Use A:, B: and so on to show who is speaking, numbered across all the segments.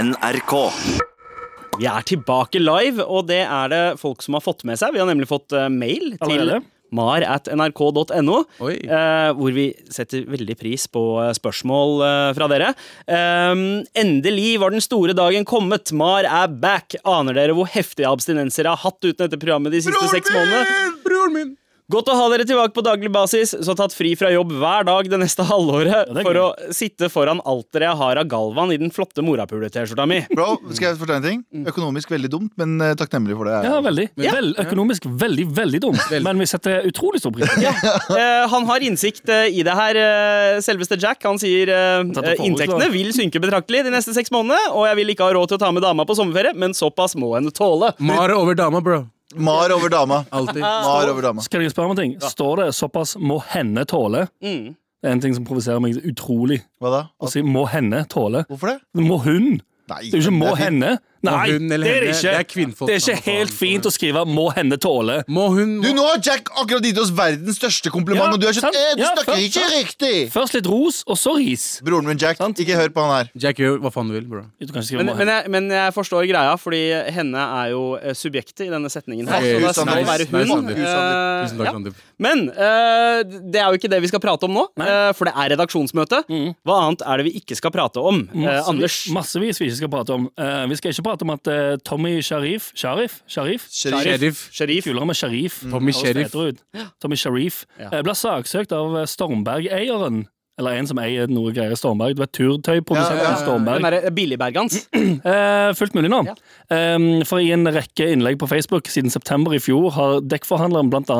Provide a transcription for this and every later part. A: NRK.
B: Vi er tilbake live, og det er det folk som har fått med seg. Vi har nemlig fått eh, mail til
C: Allerede?
B: mar at nrk.no,
D: Oi.
B: eh, hvor vi setter veldig pris på eh, spørsmål eh, fra dere. Ehm, endelig var den store dagen kommet. Mar er back. Aner dere hvor heftige abstinenser jeg har hatt uten dette programmet de siste seks månedene?
D: Broren min!
B: Godt å ha dere tilbake på daglig basis, så tatt fri fra jobb hver dag det neste halvåret
C: Ja, det er
B: for å
C: gøy.
B: sitte foran alteret jeg har av Galvan i den flotte morapule-T-skjorta mi.
A: Bro, skal jeg fortelle en ting? Økonomisk veldig dumt, men eh, takknemlig for det.
C: Ja, veldig. Vel, økonomisk veldig, veldig dum, men vi setter utrolig stor pris på det.
B: Eh, han har innsikt eh, i det her, eh, selveste Jack. Han sier eh,
C: Dette
B: eh,
C: får
B: inntektene
C: utslag.
B: vil synke betraktelig de neste seks månedene, og jeg vil ikke ha råd til å ta med dama på sommerferie, men såpass må en tåle.
D: Mar over dama, bro.
A: Mar over dama.
D: Alltid.
A: Mar over dama.
C: Skal jeg spørre om en ting? Står det såpass 'må henne tåle'? Det er en ting som provoserer meg utrolig.
A: Hva da?
C: Å si 'må henne tåle'.
A: Hvorfor det?
C: Må hun?
A: Nei.
C: Det er jo ikke 'må henne'. Nei,
D: hun eller
C: det er
D: henne.
C: det ikke.
D: Det er kvinnfolk,
C: Det er
D: samme
C: ikke helt
D: faen.
C: fint å skrive 'må henne tåle'.
D: Må hun
A: Du, nå har Jack akkurat gitt oss verdens største kompliment,
C: Ja,
A: og du er sånn
C: sant.
A: eh, Du
C: Ja,
A: snakker
C: sant,
A: ikke
C: sant.
A: riktig!
C: Først litt ros, og så ris.
A: Broren min Jack,
C: Sant.
A: ikke hør på han her.
D: Jack, gjør hva faen du vil, bro.
C: Du kan ikke skrive
B: Men,
C: 'må
B: men,
C: henne'.
B: jeg, men jeg forstår greia, fordi henne er jo eh, subjektet i denne setningen. her
D: Ok,
B: Så det skal
A: Sander.
B: være
D: Nei,
B: hun.
D: Sander.
B: Eh,
D: Tusen takk,
B: ja.
D: Sandeep.
B: Men eh, det er jo ikke det vi skal prate om nå, eh, for det er redaksjonsmøte.
D: Mm.
B: Hva annet er det vi ikke skal prate om? Eh,
C: Massevis-
B: Anders,
C: Massevis vi ikke skal prate om. Eh, vi skal ikke prate om at eh, Tommy Sharif Sharif? Sharif?
A: Sheriff.
D: Sheriff.
B: Sharif.
C: Kulere med Sharif.
D: Tommy
C: Høres
D: Sheriff.
C: fetere ut. Tommy Sharif
B: Ja.
C: eh, ble saksøkt av eh, Stormberg-eieren. Eller en som eier noe greier i Stormberg. Du vet turtøyprodusenten
A: Ja, ja, ja, ja.
C: Stormberg.
B: Den derre billigberget hans.
C: Eh, fullt mulig nå.
B: Ja.
C: Ehm, for i en rekke innlegg på Facebook siden september i fjor har dekkforhandleren bl.a.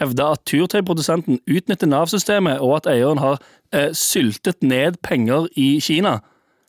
C: hevda at turtøyprodusenten utnytter Nav-systemet, og at eieren har eh, syltet ned penger i Kina.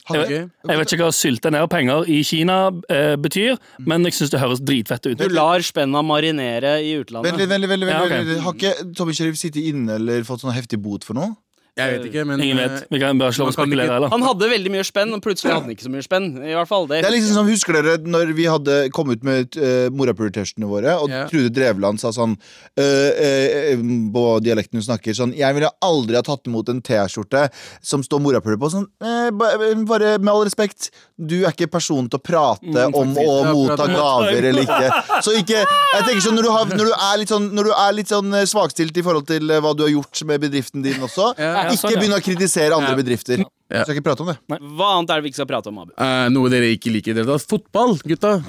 D: Ok.
C: Jeg vet ikke hva sylte ned penger i Kina eh, betyr, men jeg syns det høres dritfett ut.
B: Du lar spenna marinere i
A: Vent
B: utlandet.
A: litt, vent litt. vent litt,
C: Ja, ok.
A: vent litt. Har ikke Tommy Sheriff sittet inne eller fått sånn heftig bot for noe?
D: Jeg vet ikke, men eh,
C: Ingen vet. Vi kan bare slå
D: Man
C: og
D: kan ikke-
C: spekulere, eller?
B: Han hadde veldig mye spenn, og plutselig hadde han ikke så mye spenn. I hvert fall det.
A: Det er liksom som, Husker dere når vi hadde kom ut med uh, morapulertestene våre, og
D: Ja.
A: Trude Drevland sa sånn eh, eh, eh, På dialekten hun snakker sånn Jeg ville aldri ha tatt imot en T-skjorte som står morapuler på. Sånn, eh, ba- bare med all respekt, du er ikke personen til å prate om å
D: Ja,
A: motta
D: prate om-
A: gaver eller ikke. Så ikke jeg tenker sånn, Når du, har, når du er litt sånn, når du er litt sånn eh, svakstilt i forhold til eh, hva du har gjort med bedriften din også,
D: Ja,
C: ja,
A: ikke
C: sånn, ja.
A: begynn å kritisere andre bedrifter.
D: Ja.
A: Skal ikke prate om det.
B: Hva annet er det vi ikke skal prate om, Abu?
D: Eh, noe dere ikke liker i det hele tatt. Fotball, gutta!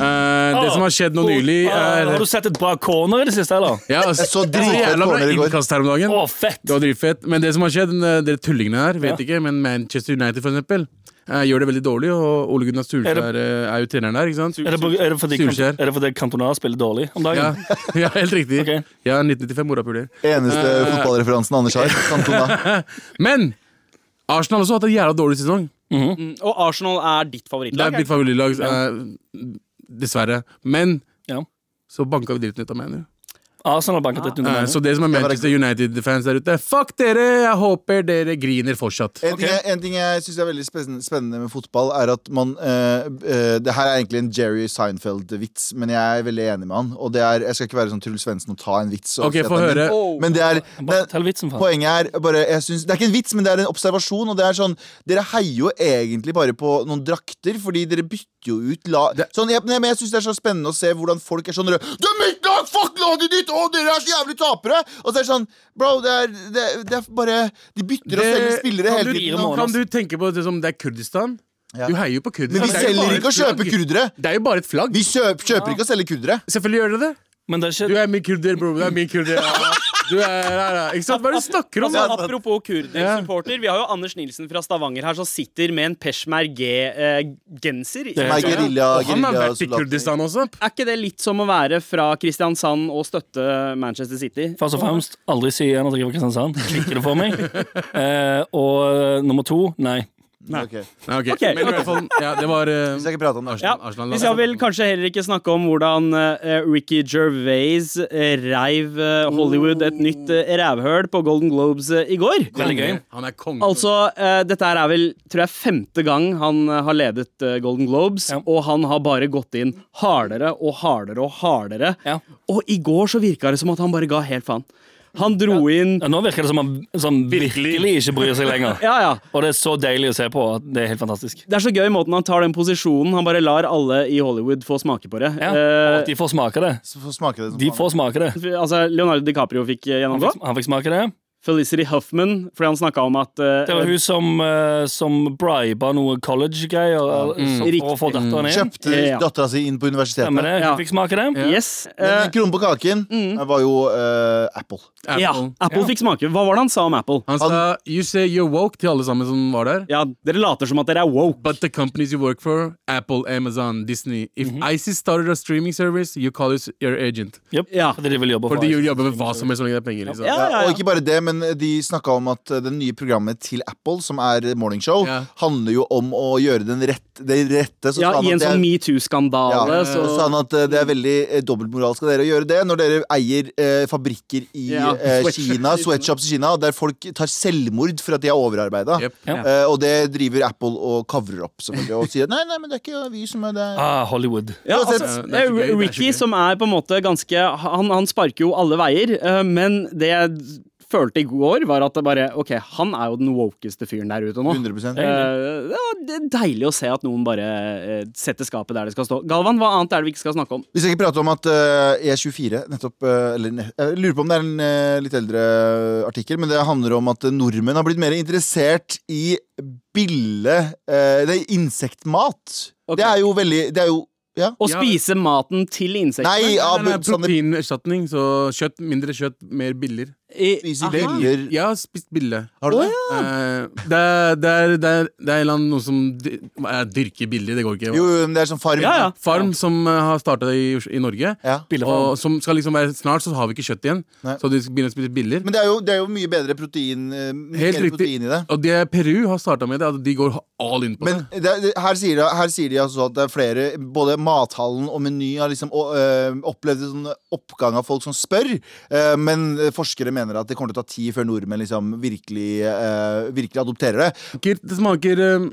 D: Eh,
C: Ah.
D: det som har skjedd nå nylig, er
C: Har du sett et bra corner i det siste, eller?
D: ja, altså,
A: Jeg så dritfett
D: jævla bra
A: corner i går.
D: innkast her om dagen.
C: Å, fett!
D: Det var dritfett. Men det som har skjedd, eh, dere tullingene her, vet
C: Ja.
D: ikke, men Manchester United for eksempel eh, gjør det veldig dårlig, og Ole Gunnar Solskjær
C: Er
D: er, er jo treneren der, ikke sant?
C: Er det, på- er det fordi,
D: Solskjær.
C: er det fordi Cantona spiller dårlig om
D: Ja,
C: dagen?
D: ja, helt riktig.
C: Ok.
D: Ja, 1995 morapuler.
A: Eneste fotballreferansen Anders har. Cantona.
D: Men Arsenal også har hatt en jævla dårlig sesong.
B: Mm, Og Arsenal er ditt
D: Det er
B: favorittlag.
D: mitt favorittlag, eh, dessverre. Men
C: Ja.
D: så banka vi dritten ut av ManU.
C: Arsenal har banket et
D: Eh,
C: under.
D: Så det som er Manchester United-fans der ute, fuck dere! Jeg håper dere griner fortsatt.
A: En, ting, jeg- en ting jeg syns er veldig spen- spennende med fotball, er at man eh, eh, Det her er egentlig en Jerry Seinfeld-vits, men jeg er veldig enig med han. Og det er, Jeg skal ikke være sånn Truls Svendsen og ta en vits. og
D: Ok,
A: si at
D: få
A: den-
D: høre.
A: Men det er, det,
C: Bare fortell vitsen, faen.
A: Poenget er bare, jeg synes, Det er ikke en vits, men det er en observasjon. Og det er sånn, Dere heier jo egentlig bare på noen drakter, fordi dere bytter jo ut la... Sånn, jeg, nei, men jeg syns det er så spennende å se hvordan folk er sånn dere, 'Det er mitt lag! Fuck laget ditt! Å, dere er så jævlig tapere!' Og så er det sånn Bro, det er, det, det er bare De bytter og selger spillere
D: kan,
A: hele
D: du,
A: tiden.
C: gire
A: og-
C: mål.
D: kan du tenke på det som det er Kurdistan?
A: Ja.
D: Du heier jo på
A: Men
D: Kurdistan.
A: vi
D: Det er jo
A: selger
D: bare
A: ikke og
D: et flagg.
A: kjøper kurdere.
D: Det er jo bare et flagg.
A: Vi kjøper, kjøper ikke og selger kurdere.
D: Selvfølgelig gjør dere det.
C: Men det er
D: Du
C: ikke
D: er min kurder, bror. Du er min kurder. ja. Du er ja, ja. Ikke sant? Hva er det du snakker
B: Altså,
D: om? da?
B: apropos kurdersupporter, vi har jo Anders Nilsen fra Stavanger her som sitter med en eh, peshmerge-genser.
C: er
A: Nei,
C: helt
B: er
A: guerilla,
D: Og han har
A: guerilla,
D: vært i
A: soldater.
D: Kurdistan også.
B: ikke det litt som å være fra Kristiansand og støtte Manchester City?
C: Først og fremst, aldri si igjen at jeg er fra Kristiansand. Klikker det for meg. Eh, og eh, nummer to, nei.
A: Ok.
D: Nei, ok.
B: Ok.
D: Men i hvert fall, ja, det var eh,
A: Vi skal ikke prate om det.
B: Ja,
D: Arsenal,
B: Vi
D: da.
B: skal vel kanskje heller ikke snakke om hvordan eh, Ricky Gervais eh, reiv eh, Hollywood et nytt eh, rævhøl på Golden Globes eh, i går.
C: Veldig gøy.
D: Han er konge.
B: Altså, eh, dette her er vel tror jeg, femte gang han eh, har ledet eh, Golden Globes,
C: Ja.
B: og han har bare gått inn hardere og hardere og hardere.
C: Ja.
B: Og i går så virka det som at han bare ga helt faen. Han dro inn
C: Ja, nå virker det som han som virkelig ikke bryr seg lenger.
B: Ja, ja.
C: Og det er så deilig å se på. at Det er helt fantastisk.
B: Det er så gøy måten han tar den posisjonen. Han bare lar alle i Hollywood få smake på det.
C: Ja, og
B: Eh,
C: at de får smake det.
A: Så får smake det som
C: De
A: faen.
C: får smake det.
B: altså, Leonardo DiCaprio fikk eh,
C: Han
B: gjennomgå.
C: fikk, han fikk smake det.
B: Felicity Huffman, fordi han snakka om at eh,
C: Det var hun som, eh, som briba noe college-greier eller- så- for å få datteren
D: Mm.
C: inn.
A: Kjøpte
B: Ja.
A: dattera si inn på universitetet.
C: Stemmer det.
B: Ja.
C: Hun fikk smake det.
B: Yes.
A: Men
B: eh,
A: en krone på kaken eh, var jo eh, Apple.
D: Apple.
B: ja, Apple fikk smake. Hva var det han sa om Apple?
D: Han sa 'you say you're woke' til alle sammen som var der.
B: Ja, Dere later som at dere er woke.
D: But the companies you work for, Apple, Amazon, Disney If ISIS started a streaming service, you call us your agent.
C: Yep.
B: Ja.
C: Fordi de vil jobbe for
D: Fordi de
C: ISIS.
D: vil jobbe med hva som helst så lenge det er penger. Liksom.
B: Ja,
A: Ja,
B: ja,
A: Og
B: ja.
A: ikke bare det, men de snakka om at eh, det nye programmet til Apple, som er morningshow,
D: Ja.
A: handler jo om å gjøre den rett, det rette. Så
B: ja
A: sa han
B: I
A: at
B: en
A: det er-
B: sånn altså.
A: ja,
B: metoo-skandale.
A: så sa han at eh, det er veldig eh, dobbeltmoralsk av dere å gjøre det når dere eier eh, fabrikker i
B: Ja,
A: eh,
B: sweatshops i
A: Kina,
B: Kina.
A: sweatshops i Kina, der folk tar selvmord for at de er overarbeida.
D: Yep.
C: Ja.
A: Eh, og det driver Apple og covrer opp selvfølgelig, og sier nei, nei, men det er ikke vi som er det.
C: Ah, Hollywood.
B: Ja,
A: Uansett,
B: altså,
D: det er så gøy, det er så
B: Ricky
D: gøy.
B: som er på en måte ganske Han, han sparker jo alle veier, eh, men det jeg følte i går, var at det bare Ok, han er jo den wokeste fyren der ute nå.
A: 100%
B: Eh, ja, det er deilig å se at noen bare eh, setter skapet der det skal stå. Galvan, hva annet er det vi ikke skal snakke om?
A: Vi skal ikke prate om at eh, E24 nettopp eh, eller, ne- Jeg lurer på om det er en eh, litt eldre artikkel, men det handler om at nordmenn har blitt mer interessert i bille eh, Det er insektmat.
B: Ok.
A: Det er jo veldig Det er jo Ja.
B: Å
D: Ja.
B: spise maten til insektene?
A: Nei,
D: Nei, nei,
A: av sånne
D: proteinerstatning, så kjøtt, mindre kjøtt, mer biller.
A: spiser
B: Nei,
A: biller
D: Jeg har spist bille.
A: Har du det?
D: Eh, det, er, det, er, det, er, det er en eller annen noe som dy- hva er det, dyrker biller, det går ikke.
A: Jo, jo, men det er sånn farm.
B: Ja, ja.
D: Farm som eh, har starta i, Os- i Norge.
A: Ja.
C: Billefarm.
D: Og som skal liksom være Snart så har vi ikke kjøtt igjen,
A: Nei.
D: så de skal begynne å spise biller.
A: Men det er, jo, det er jo mye bedre protein, eh, mye
D: Helt
A: mer
D: riktig.
A: protein i det.
D: Og det Peru har starta med det, at de går all in på
A: Men
D: det.
A: det, er- det, her, sier de, her sier de altså at det er flere Både mathallen og Meny har liksom å, øh, opplevd en sånn oppgang av folk som spør, øh, men forskere mener at det kommer til å ta tid før nordmenn liksom virkelig, øh, virkelig adopterer det.
D: Smaker- Det smaker eh,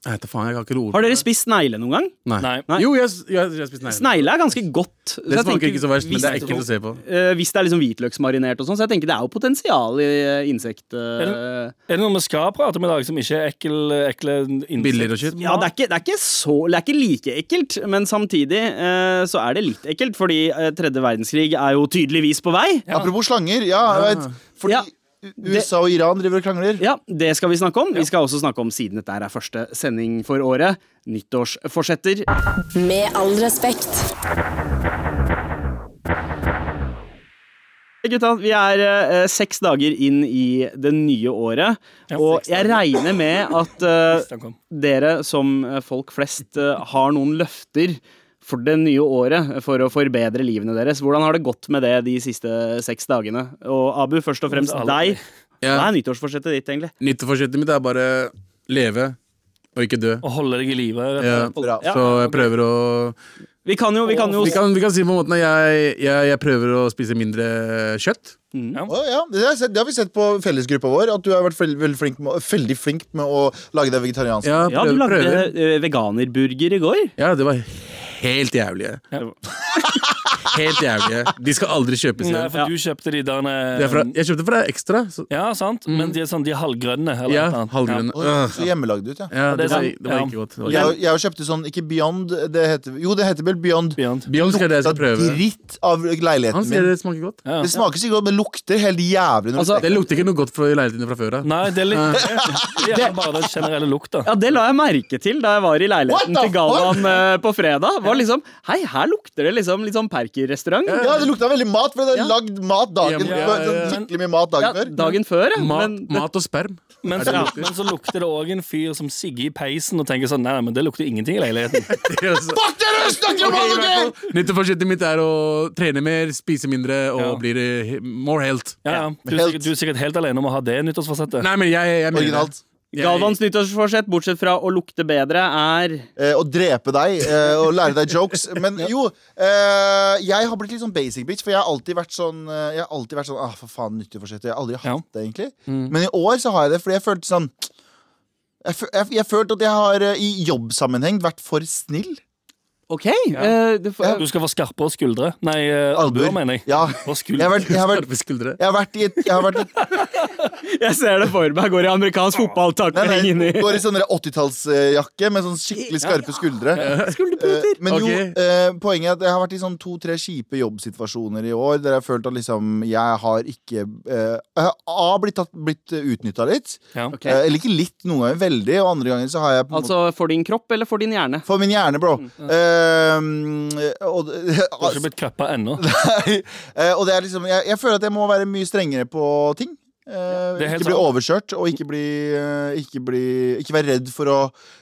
D: Jeg vet da faen, jeg har ikke ord.
B: Har dere spist snegle noen gang?
D: Nei.
C: Nei.
D: Jo, jeg, s- jeg, jeg har spist negler.
B: Snegle er ganske godt. så
D: Det
B: jeg
D: smaker
B: tenker
D: ikke så verst, men
B: hvis-
D: det er ekkelt å se på.
B: eh, hvis det er liksom hvitløksmarinert og sånn, så jeg tenker det er jo potensial i eh, insekt... eh,
C: Er det noe vi skal prate om i dag som ikke er ekkel, ekle insekter?
D: Biller og shit.
B: Ja, det er, ikke, det, er ikke så, det er ikke like ekkelt, men samtidig eh, så er det litt ekkelt, fordi eh, tredje verdenskrig er jo tydeligvis på vei.
A: Apropos slanger, ja, jeg vet, fordi
B: Ja.
A: U- USA og Iran driver og krangler.
B: Ja, det skal vi snakke om. Vi skal også snakke om, siden dette er første sending for året, nyttårsforsetter.
E: Med all respekt.
B: Gutta, vi er eh, seks dager inn i det nye året, og
C: seks
B: jeg regner med at eh,
C: Hvis den kom.
B: dere som eh, folk flest eh, har noen løfter for det nye året, eh, for å forbedre livene deres. Hvordan har det gått med det de siste seks dagene? Og Abu, først og fremst
C: Alle-
B: deg.
D: Ja.
B: Hva er nyttårsforsettet ditt, egentlig?
D: Nytteforsettet mitt er bare leve og ikke dø.
C: Å holde deg i live. rett og
D: Ja.
C: slett.
A: Bra.
D: Så jeg prøver å
B: Vi kan jo, vi kan jo
D: Vi kan, vi kan si på en måte at jeg, jeg, jeg prøver å spise mindre kjøtt.
C: Mm,
A: Å, ja. Det, har jeg sett, det har vi sett på fellesgruppa vår, at du har vært veldig, veldig, flink, med, å- veldig flink med å lage deg vegetariansk.
D: Ja,
B: Ja, du
D: prøver-
B: lagde
D: prøver.
B: eh, veganerburger i går.
D: Ja, det var helt jævlig. Helt jævlig. De skal aldri kjøpes
C: Nei,
D: igjen.
C: for du kjøpte de der eh,
D: Det er fra, jeg kjøpte fra Ekstra. Så,
C: Ja, sant, men de er sånn, de er halvgrønne. Eller
D: ja,
C: noe annet.
D: halvgrønne.
A: Og
D: Øh.
A: så hjemmelagd ut, ja.
D: Ja, det var,
C: Ja.
D: det var ikke godt. Det var ikke
A: Jeg, jeg kjøpte sånn, ikke Beyond, det heter, jo det heter vel Beyond.
C: Ja. Beyond.
D: godt. Beyond skal jeg prøve.
A: dritt av
D: Han
A: leiligheten min.
D: sier det Altså, smaker godt.
C: Ja.
A: Det smaker sikkert godt, men lukter helt jævlig. Når du steker
D: Det lukter ikke noe godt fra leiligheten din fra før av.
C: Nei, det er litt Det er bare den generelle lukta.
B: Ja, Det la jeg merke til da jeg var i leiligheten
A: What the
B: til Galvan eh, på fredag. Var liksom, Hei, her lukter det liksom litt sånn Perker-restaurant.
A: det. Ja, det lukta veldig mat, for det er lagd mat dagen
D: Ja, ja,
A: før.
D: ja, ja.
A: Sånn Skikkelig mye mat dagen
B: Ja,
A: før.
B: dagen før, ja.
D: Mat,
B: men-
D: mat og sperm.
C: Men så, men så lukter det òg en fyr som sigger i peisen og tenker sånn Nei, nei, men det lukter ingenting i leiligheten.
A: Fuck dere, snakker om alt, ok?!
D: Nytteforsettet mitt er å trene mer, spise mindre og
C: Ja.
D: bli eh, more health.
C: Ja, ja. Du, er sikkert, du er sikkert helt alene om å ha det nyttårsforsettet.
D: Nei, men jeg, jeg mener
A: Originalt.
D: Jeg-
B: Galvans nyttårsforsett, bortsett fra å lukte bedre, er
A: Eh, å drepe deg eh, og lære deg jokes. Men jo, eh, jeg har blitt litt sånn basic bitch, for jeg har alltid vært sånn eh, Jeg har alltid vært sånn ah, for faen, nyttig forsett. Jeg har aldri hatt
C: Ja.
A: det, egentlig.
D: Mm.
A: Men i år så har jeg det, fordi jeg følte sånn jeg, fø- jeg, jeg følte at jeg har eh, i jobbsammenheng vært for snill.
D: OK. eh, det får-
C: Du skal få skarpere skuldre. Nei, eh, albuer, mener jeg.
A: Ja.
C: Og
A: Jeg
C: skuldre.
A: har vært, jeg har vært,
D: Skarpe skuldre.
A: jeg har vært i et Jeg har vært i
B: Jeg ser det for meg. Går i amerikansk fotballtakling
A: Nei,
B: inn
A: nei,
B: i
A: går i sånn der 80-tallsjakke med sånn skikkelig skarpe skuldre. Eh, Men jo,
D: Ok.
A: eh, poenget er at jeg har vært i sånn to-tre kjipe jobbsituasjoner i år der jeg har følt at liksom jeg har ikke eh, Jeg har A blitt, tatt- blitt utnytta litt.
C: Ja.
D: Ok.
A: Eh, Eller ikke litt, noen ganger veldig, og andre ganger så har jeg på en måte
B: Altså Mm, for din kropp eller for din hjerne?
A: For min hjerne, bro. Eh, og,
C: Du har ikke blitt cuppa ennå.
A: Eh, og det er liksom jeg, jeg føler at jeg må være mye strengere på ting. Eh,
C: Det er helt
A: ikke bli
C: sant.
A: overkjørt, og ikke bli, eh, ikke bli Ikke være redd for å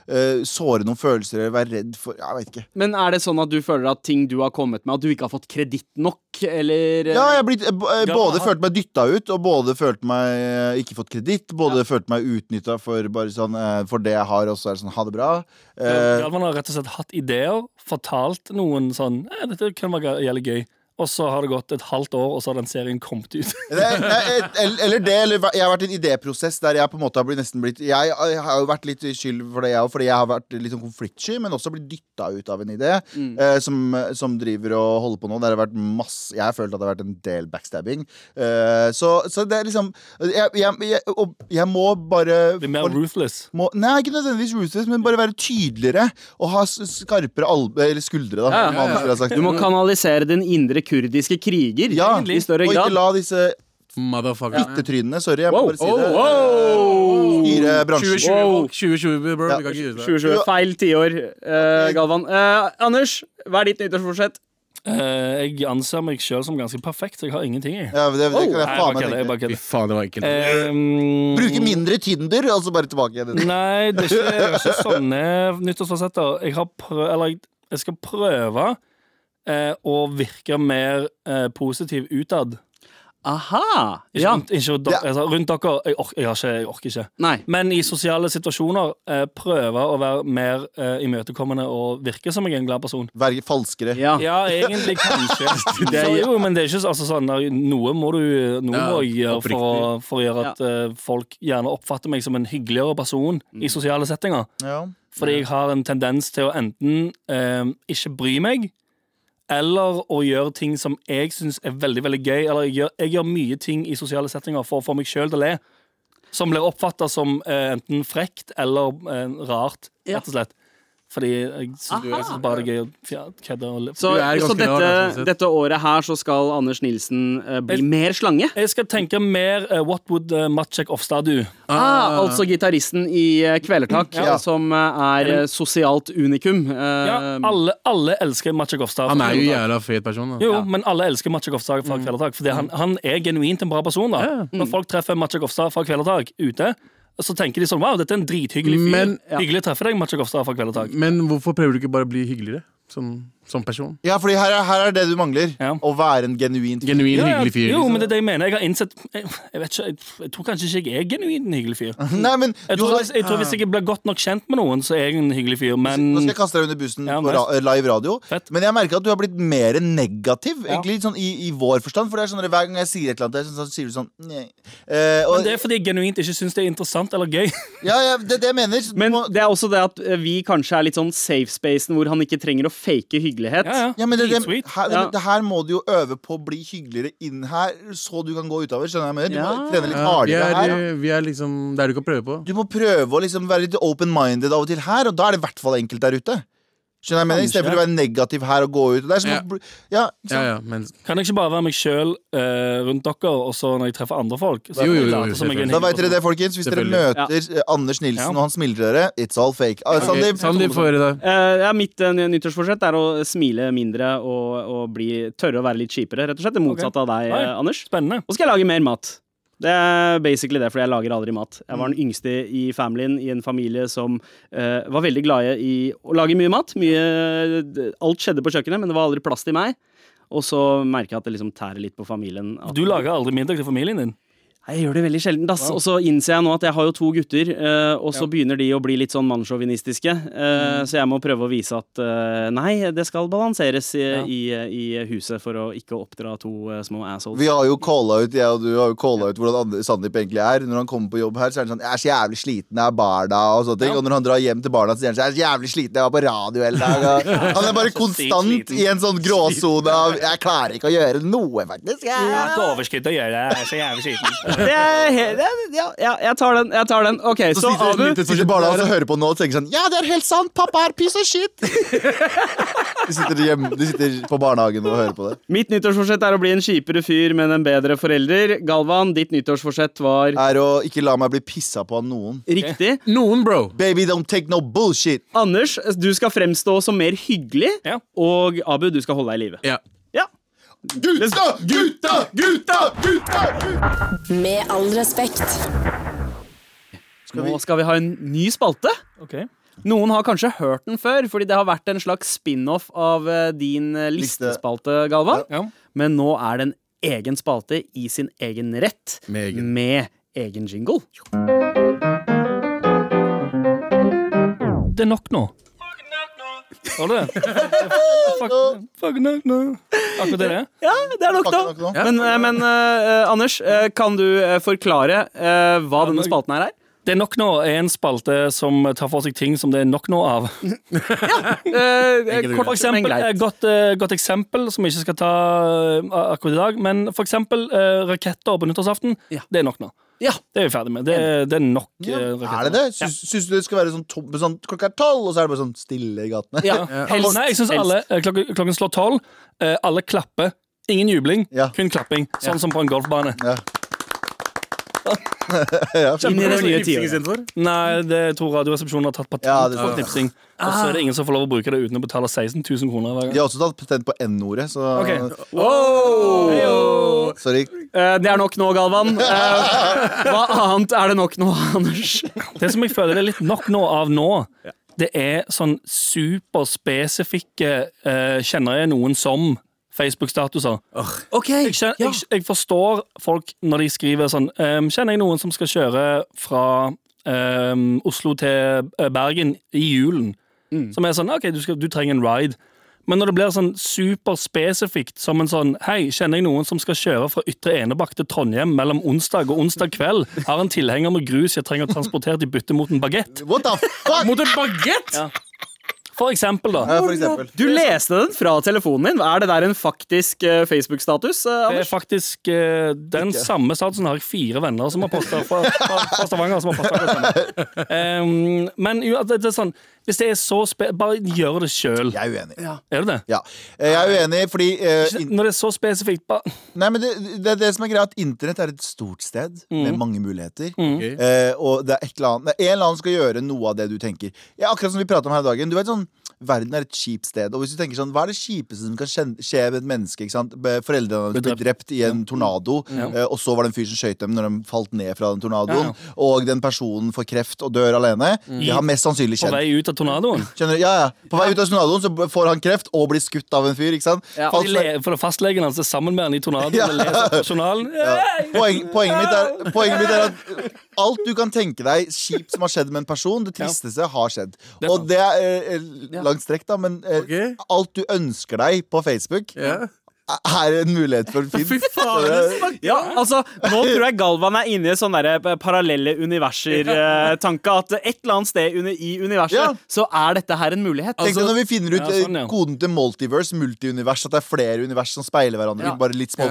A: eh, såre noen følelser, eller være redd for Jeg vet ikke.
B: Men er det sånn at du føler at ting du har kommet med, at du ikke har fått kreditt nok, eller eh,
A: Ja, jeg har blitt, eh, b- eh,
C: Ja,
A: både
C: men-
A: følt meg dytta ut, og både følt meg eh, ikke fått kreditt, både følt meg utnytta for, bare sånn, eh, for det jeg har, og så er det sånn ha det bra. Eh,
C: Galvan har rett og slett hatt ideer, fortalt noen sånn eh, 'Dette kan være jævlig gøy', og så har det gått et halvt år, og så har den serien kommet ut.
A: Nei, nei, eller- Eller det, eller jeg har vært i en idéprosess der jeg på en måte har blitt nesten blitt Jeg har jo vært litt skyld for det, jeg òg, fordi jeg har vært litt sånn konfliktsky, men også blitt dytta ut av en idé eh, som, som driver og holder på nå. Der har det vært masse Jeg har følt at det har vært en del backstabbing. Eh, så, så det er liksom Jeg, jeg, jeg, og jeg må bare
C: Blir mer ruthless.
A: må, Nei, ikke nødvendigvis ruthless, men bare være tydeligere og ha s- skarpere albe, eller skuldre, da. som andre har sagt. Mm.
B: Du må kanalisere din indre kurdiske kriger
A: ja,
B: i større
A: og ikke
B: grad.
A: la disse
D: Motherfucker.
A: fittetrynene Sorry, jeg må bare si
D: Oh,
A: det.
D: wow.
A: Styre bransjen.
D: 2020,
B: Wow.
D: folk. 2020, bro.
A: Ja.
D: Vi kan ikke gjøre det.
B: 2020. Feil tiår, eh, Galvan. Eh, Anders, hva er ditt nyttårsforsett?
C: Eh, jeg anser meg sjøl som ganske perfekt, så jeg har ingenting i.
A: Ja, men det, det kan
C: Nei,
A: jeg
C: jeg
A: faen
C: bare
A: meg
C: kødder. jeg
A: tenke.
C: bare
D: Fy
C: kødder.
D: faen, det var ekkelt.
C: Ehm,
A: Bruke mindre Tinder, og så bare tilbake igjen.
C: Nei, det er ikke, jeg har ikke sånn sånne nyttårsforsetter. Jeg, har prø eller, jeg- jeg skal prøve eh, å virke mer eh, positiv utad.
B: Aha!
C: Ikke,
B: Ja.
C: rundt, ikke rundt, dere- altså, rundt dere. Jeg, ork, jeg, har ikke, jeg orker ikke.
B: Nei.
C: Men i sosiale situasjoner, eh, prøve å være mer eh, imøtekommende og virke som jeg er en glad person.
A: Være falskere.
B: Ja.
C: Ja, egentlig kanskje. Det, er jo, men det er ikke så- altså, sånn nei, Noe må du noe
D: Ja,
C: må jeg gjøre for å, for å gjøre at
B: Ja.
C: eh, folk gjerne oppfatter meg som en hyggeligere person i sosiale settinger.
A: Ja.
C: Fordi jeg har en tendens til å enten eh, ikke bry meg, eller å gjøre ting som jeg syns er veldig veldig gøy. Eller jeg gjør, jeg gjør mye ting i sosiale settinger for å få meg sjøl til å le. Som blir oppfatta som eh, enten frekt eller eh, rart,
B: Ja.
C: rett og slett. Fordi jeg syns jeg syns bare det er gøy å fja- kødde og le.
B: Så,
D: Du er ganske
B: så
D: rar,
B: dette,
D: da, sånn sett.
B: dette året her så skal Anders Nilsen eh, bli mer slange?
C: Jeg skal tenke mer eh, What would uh, Matsjek Ofstad do?
B: Ah, altså gitaristen i eh, Kvelertak,
A: Ja.
B: som eh, er eh, sosialt unikum. eh,
C: Ja, alle, alle elsker Matsjek Ofstad.
D: Han er jo en
C: Jo,
D: jævla fet person, da.
C: Jo, men alle elsker Matsjek Ofstad
D: Mm.
C: fra Kvelertak. Fordi han, han er genuint en bra person. da Når folk treffer Matsjek Ofstad fra Kvelertak ute, så tenker de sånn Wow, dette er en drithyggelig fyr.
D: Men-
C: Hyggelig å treffe deg, Matsjek Ofstad fra Kvelertak.
D: Men hvorfor prøver du ikke bare å bli hyggeligere som, som person?
A: ja, fordi her er, her er det du mangler.
C: Ja.
A: Å være en genuin fyr.
D: Genuin
C: Ja,
D: hyggelig fyr.
C: jo,
D: liksom.
C: men det er det jeg mener. Jeg har innsett Jeg, jeg vet ikke, jeg, jeg tror kanskje ikke jeg er genuint en hyggelig fyr.
A: Nei, men
C: Jeg
A: du
C: tror,
A: har-
C: hvis- jeg tror Hvis jeg blir godt nok kjent med noen, så er jeg en hyggelig fyr, men
A: Nå skal jeg kaste deg under bussen
C: Ja,
A: på ra live radio.
C: Fett.
A: Men jeg merker at du har blitt mer negativ Egentlig sånn i, i vår forstand. For det er sånn at hver gang jeg sier et eller annet, så sier du sånn Nei. Eh, og,
C: Men det er fordi jeg genuint ikke syns det er interessant eller gøy.
A: Ja, ja, det er det jeg mener. Så du
B: Men
A: må,
B: det er også det at eh, vi kanskje er litt sånn safe spacen hvor han ikke trenger å fake hyggelighet.
C: Ja, ja.
A: ja, men det, det,
C: Dritsweet.
A: her,
B: Ja.
A: det her må du jo øve på å bli hyggeligere inn her, så du kan gå utover. Skjønner du hva jeg mener? Du
B: Ja.
A: må trene litt
D: Ja, vi
A: hardere
D: er,
A: her.
D: eh, vi er liksom Det er du ikke å prøve på.
A: Du må prøve å liksom være litt open-minded av og til her, og da er det i hvert fall enkelt der ute. Skjønner jeg mener? I stedet for å være negativ her og gå ut. Det er som
D: Ja.
A: å bl- ja, ikke
D: Ja,
A: sant?
D: ja, men
C: Kan jeg ikke bare være meg sjøl rundt dere, og så når jeg treffer andre folk? Så
D: Jo, jo, jo,
C: later
D: jo,
C: som jeg er en
A: Da veit dere det,
C: hyggelig
A: folkens. Hvis dere
D: Selvfølgelig.
A: møter eh, Anders Nilsen
C: Ja.
A: og han smiler til dere, it's all fake. Ah,
D: Ok,
A: Sandeep,
D: Sandeep får høre det.
B: Eh, ja, mitt eh, nyttårsforsett er å smile mindre og, og bli, tørre å være litt kjipere. Rett og slett det motsatte av deg,
C: Oi.
B: eh, Anders.
C: person. Spennende.
B: Og så skal jeg lage mer mat. Det er basically det, fordi jeg lager aldri mat. Jeg var den yngste i familien i en familie som eh, var veldig glade i å lage mye mat. Mye, alt skjedde på kjøkkenet, men det var aldri plass til meg. Og så merker jeg at det liksom tærer litt på familien. At
C: Du lager aldri middag til familien din.
B: Jeg gjør det veldig sjelden, ass. Og så innser jeg nå at jeg har jo to gutter, eh, og så begynner de å bli litt sånn mannssjåvinistiske. eh, Så jeg må prøve å vise at eh, nei, det skal balanseres i, i, i huset for å ikke oppdra to eh, små assholes.
A: Vi har jo calla ut, jeg og du har jo calla ut hvordan andre- Sandeep egentlig er. Når han kommer på jobb her, så er han sånn 'Jeg er så jævlig sliten, jeg er barna', og sånne ting. Og når han drar hjem til barna, så sier han sånn 'Jeg er så jævlig sliten, jeg var på radio hele dag'. Og han er bare konstant i en sånn gråsone av 'Jeg klarer ikke å gjøre noe, faktisk'. Jeg.
C: Overskudd å gjøre det. Jeg er så jævlig sliten.
B: Det er, he- det er, ja, ja, jeg tar den. Jeg tar den. OK, så,
D: spiser
B: Abu
D: du myntet.
A: Sitter barna hans og hører på nå og tenker sånn 'Ja, det er helt sant, pappa er piece of shit'. De sitter, hjemme, de sitter på barnehagen og hører på det.
B: Mitt nyttårsforsett er å bli en kjipere fyr, men en bedre forelder. Galvan, ditt nyttårsforsett var
A: Er å ikke la meg bli pissa på av noen.
B: riktig.
D: Noen, bro.
A: Baby, don't take no bullshit.
B: Anders, du skal fremstå som mer hyggelig,
C: Ja.
B: og Abu, du skal holde deg i live.
D: Ja.
B: Ja.
A: Gutta, gutta, gutta, gutta, gutta.
E: Med all respekt.
B: Nå skal vi ha en ny spalte.
C: Okay.
B: Noen har kanskje hørt den før, fordi det har vært en slags spin-off av eh, din eh,
A: Liste.
B: listespalte, Galvan.
C: Ja.
B: Men nå er det en egen spalte i sin egen rett,
D: Med egen.
B: med egen jingle.
C: Det er nok nå. Har du det? Fuck, fuck nok nå. Akkurat det det er.
B: Ja, det er nok,
A: Takk, takk,
B: da.
A: takk.
B: Men, eh, men eh, eh, Anders, eh, kan du eh, forklare eh, hva denne spalten her er?
C: Det er nok nå er en spalte som tar for seg ting som det er nok nå av.
B: Eh,
D: Enkelt og
B: kort, men
C: For eksempel,
B: greit.
C: et godt, eh, godt eksempel som vi ikke skal ta eh, akkurat i dag, men for eksempel eh, raketter på nyttårsaften.
B: Ja.
C: Det er nok nå.
B: Ja.
C: Det er vi ferdig med. Det, er- det er nok eh, raketter.
A: Er det det? Syns, syns du det skal være sånn, tom, sånn klokka er tolv, og så er det bare sånn stille i gatene?
B: ja. Helst.
C: Nei, jeg synes
B: helst.
C: alle, eh, klokken, klokken slår tolv. eh, Alle klapper. Ingen jubling,
A: Ja.
C: kun klapping. Sånn som på en golfbane.
B: Inn i det nye tiåret.
C: Nei, det tror Radioresepsjonen har tatt patent
A: Ja, det
C: på
A: tror jeg.
C: knipsing. Og så
B: Ah.
C: er det ingen som får lov å bruke det uten å betale 16 000 kroner hver
A: De
C: gang.
A: har også tatt patent på N-ordet, så
C: Ok.
A: sorry.
B: Eh, det er nok nå, Galvan. Eh, hva annet er det nok nå, Anders?
C: Det som jeg føler det er litt nok nå av nå, det er sånn superspesifikke eh, Kjenner jeg noen som Facebook-statuser?
B: Ok,
C: Jeg, skjøn- jeg, jeg forstår folk når de skriver sånn ehm, Kjenner jeg noen som skal kjøre fra ehm, Oslo til eh, Bergen i julen? Som er sånn OK, du, skal, du trenger en ride. Men når det blir sånn superspesifikt som en sånn Hei, kjenner jeg noen som skal kjøre fra Ytre Enebakk til Trondheim mellom onsdag og onsdag kveld? Har en tilhenger med grus jeg trenger transportert i bytte mot en bagett?
A: What the fuck?
D: Mot en bagett!
C: For eksempel, da.
A: Ja, for eksempel.
B: eh, Du leste den fra telefonen din. Er det der en faktisk eh, Facebook-status? eh,
C: Det
B: Anders?
C: er faktisk eh, den samme statusen har jeg fire venner som har posta fra, fra, fra Stavanger. som har postet akkurat det samme. Em, men jo, at det det er sånn, hvis det er så spe... Bare gjør det sjøl.
A: Jeg er uenig.
C: Er det det?
A: Ja. Eh, Jeg er uenig fordi eh, in-
C: Når det er så spesifikt ba...
A: Nei, men det, det, er det som er greia, at internett er et stort sted
C: Mm.
A: med mange muligheter.
D: Ok.
A: Eh, og det er et eller annet det er En eller annen som skal gjøre noe av det du tenker. Ja, akkurat som vi pratet om her i dagen. Du vet sånn Verden er et kjipt sted. Og hvis du tenker sånn, Hva er det kjipeste som kan skje, skje med et menneske? ikke sant? Be- Foreldrene deres ble drept i en tornado, eh, og så var det en fyr som skøyt dem når de falt ned fra den tornadoen. Og den personen får kreft og dør alene. De har mest sannsynlig
C: Mm. På
A: kjent
C: vei ut av tornadoen.
A: Skjønner du? Ja, ja. På vei ut av tornadoen så får han kreft og blir skutt av en fyr. ikke sant?
B: Ja.
A: Falt
C: De le, for det er fastlegen hans er sammen med han i tornadoen og leser på journalen.
A: Poeng, poenget, mitt er, poenget mitt er at alt du kan tenke deg kjipt som har skjedd med en person, det tristeste har skjedd.
C: er
A: Og det er eh, langt strekk, da, men eh,
D: Ok.
A: alt du ønsker deg på Facebook,
D: Ja.
A: er en mulighet for Finn.
D: Fy faen, det er
B: Ja, altså, Nå tror jeg Galvan er inne i sånne der, eh, parallelle universer-tanke. At et eller annet sted under, i universet
A: Ja.
B: så er dette her en mulighet.
A: Tenk deg når vi finner ut
C: Ja, sånn,
A: eh,
C: ja.
A: koden til multiverse, multiunivers, at det er flere univers som speiler hverandre.
B: Ja.
A: Bare litt små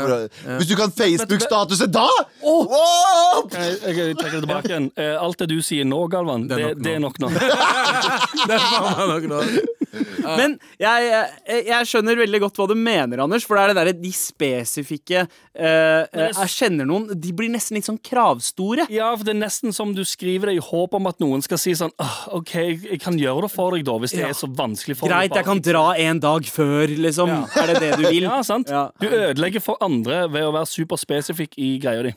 A: Hvis du kan Facebook-statuset da! Wow!
C: Eh, Jeg, jeg, jeg trekker det tilbake igjen. Eh, Alt det du sier nå, Galvan, det,
D: er nok
C: det er nok nå.
D: Det er faen meg nok nå.
B: Men jeg, jeg, jeg skjønner veldig godt hva du mener, Anders. For det er det derre de spesifikke eh, eh, Jeg kjenner noen. De blir nesten litt sånn kravstore.
C: Ja, for det er nesten som du skriver det i håp om at noen skal si sånn «Ah, OK, jeg jeg kan gjøre det for deg, da, hvis det
B: Ja.
C: er så vanskelig for
B: Greit,
C: deg.
B: jeg kan dra en dag før, liksom. Er det det du vil?
C: Ja, sant?
B: Ja.
C: Du ødelegger for andre ved å være superspesifikk i greia di.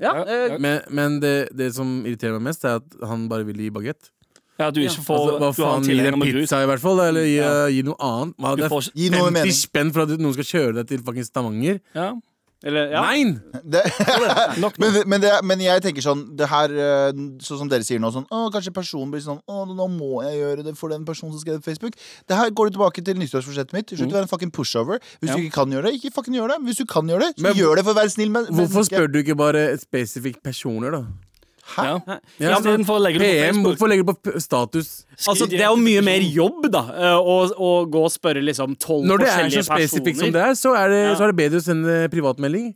B: Ja, eh,
D: Men, men det, det som irriterer meg mest, er at han bare vil gi bagett.
C: Ja, at du ikke får
D: Altså, hva
C: du har en
D: faen, gi
C: tilhenger
D: dem
C: med grus.
D: pizza, i hvert fall. Eller gi,
C: Ja.
D: gi noe annet. Hva,
C: Du
D: det er
C: får ikke-
A: Gi noe
D: 50
A: mening.
D: spenn for at noen skal kjøre deg til fucking Stavanger.
C: Ja.
B: Eller, ja.
D: Nein!
A: Det,
C: Nok nå.
A: men, men, det, men jeg tenker sånn Det her, eh, sånn som dere sier nå sånn, Å, Kanskje personen blir sånn Å, nå må jeg gjøre det for den personen som skrev på Facebook Det her går du tilbake til nyttårsforsettet mitt Slutt å være en fucking pushover Hvis du ikke kan gjøre det, ikke fucking gjør det Hvis du kan gjøre det, så
D: Men
A: gjør det for å være snill med
D: Hvorfor spør du ikke bare spesifikke personer, da?
C: Ja.
D: Ja, men-
C: Istedenfor å legge det på
D: PM,
C: Facebook.
D: hvorfor legger du på p- status?
B: Altså, det er jo mye mer jobb, da, eh, å, å gå og spørre liksom tolv
D: Når det er
B: forskjellige
D: så
B: personer.
D: spesifikt som det er, så er det, så er det bedre å sende privatmelding.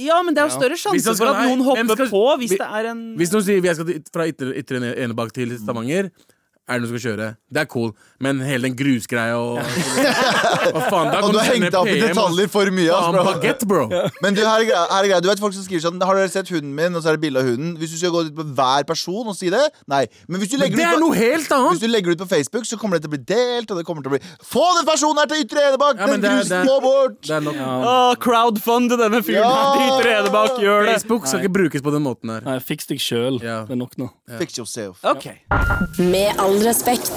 B: Ja, men det er jo større
D: Hvis
B: sjanse
D: han skal-
B: for at noen
D: nei, hvem
B: hopper
D: skal-
B: på hvis
D: vi-
B: det er en
D: Hvis noen sier vi skal til- fra Ytre ytre Ene- Enebakk til Stavanger, er det noen som skal kjøre? Det er cool, men hele den grusgreia og Hva faen? Da
A: Og
D: kan
A: du
D: du
A: har
D: sende
A: hengt deg opp i
D: PM og
A: detaljer for mye ass,
D: faen
A: bro.
D: bagett, bro.
A: Men du, her er greia, her er greia. du vet folk som skriver sånn Har dere sett hunden min? Og så er det bilde av hunden. Hvis du skal gå ut på hver person og si det Nei. Men hvis du
D: Men
A: legger
D: det
A: ut
D: er
A: på-
D: noe helt annet!
A: Hvis du legger det ut på Facebook, så kommer det til å bli delt, og det kommer til å bli Få den personen her til Ytre Enebakk!
D: Ja,
A: den
D: men det er-
A: grusen
D: det er-
A: må bort!
D: Det er nok.
B: Å, crowdfund denne fyren
A: Ja!
B: her! Dyter Edebakk, gjør det!
D: Facebook skal ikke brukes på den måten her.
C: Nei, fiks deg sjøl.
D: Ja.
C: Det er nok nå.
A: Fix yourself.
B: Ok.
E: Med all respekt.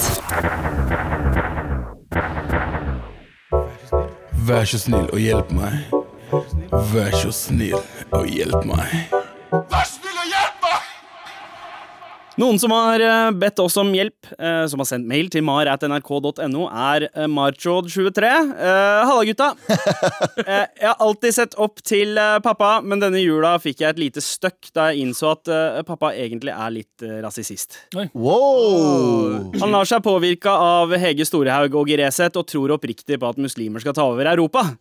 F: Vær så snill og hjelp meg. Vær så snill og hjelp meg.
B: Noen som har eh, bedt oss om hjelp, eh, som har sendt mail til mar.nrk.no, er eh, marchod23. Eh, Halla, gutta! Eh, Jeg har alltid sett opp til eh, pappa, men denne jula fikk jeg et lite støkk da jeg innså at eh, pappa egentlig er litt eh, rasist.
A: Wow!
B: Han lar seg påvirke av Hege Storehaug og Gereseth og tror oppriktig på at muslimer skal ta over Europa.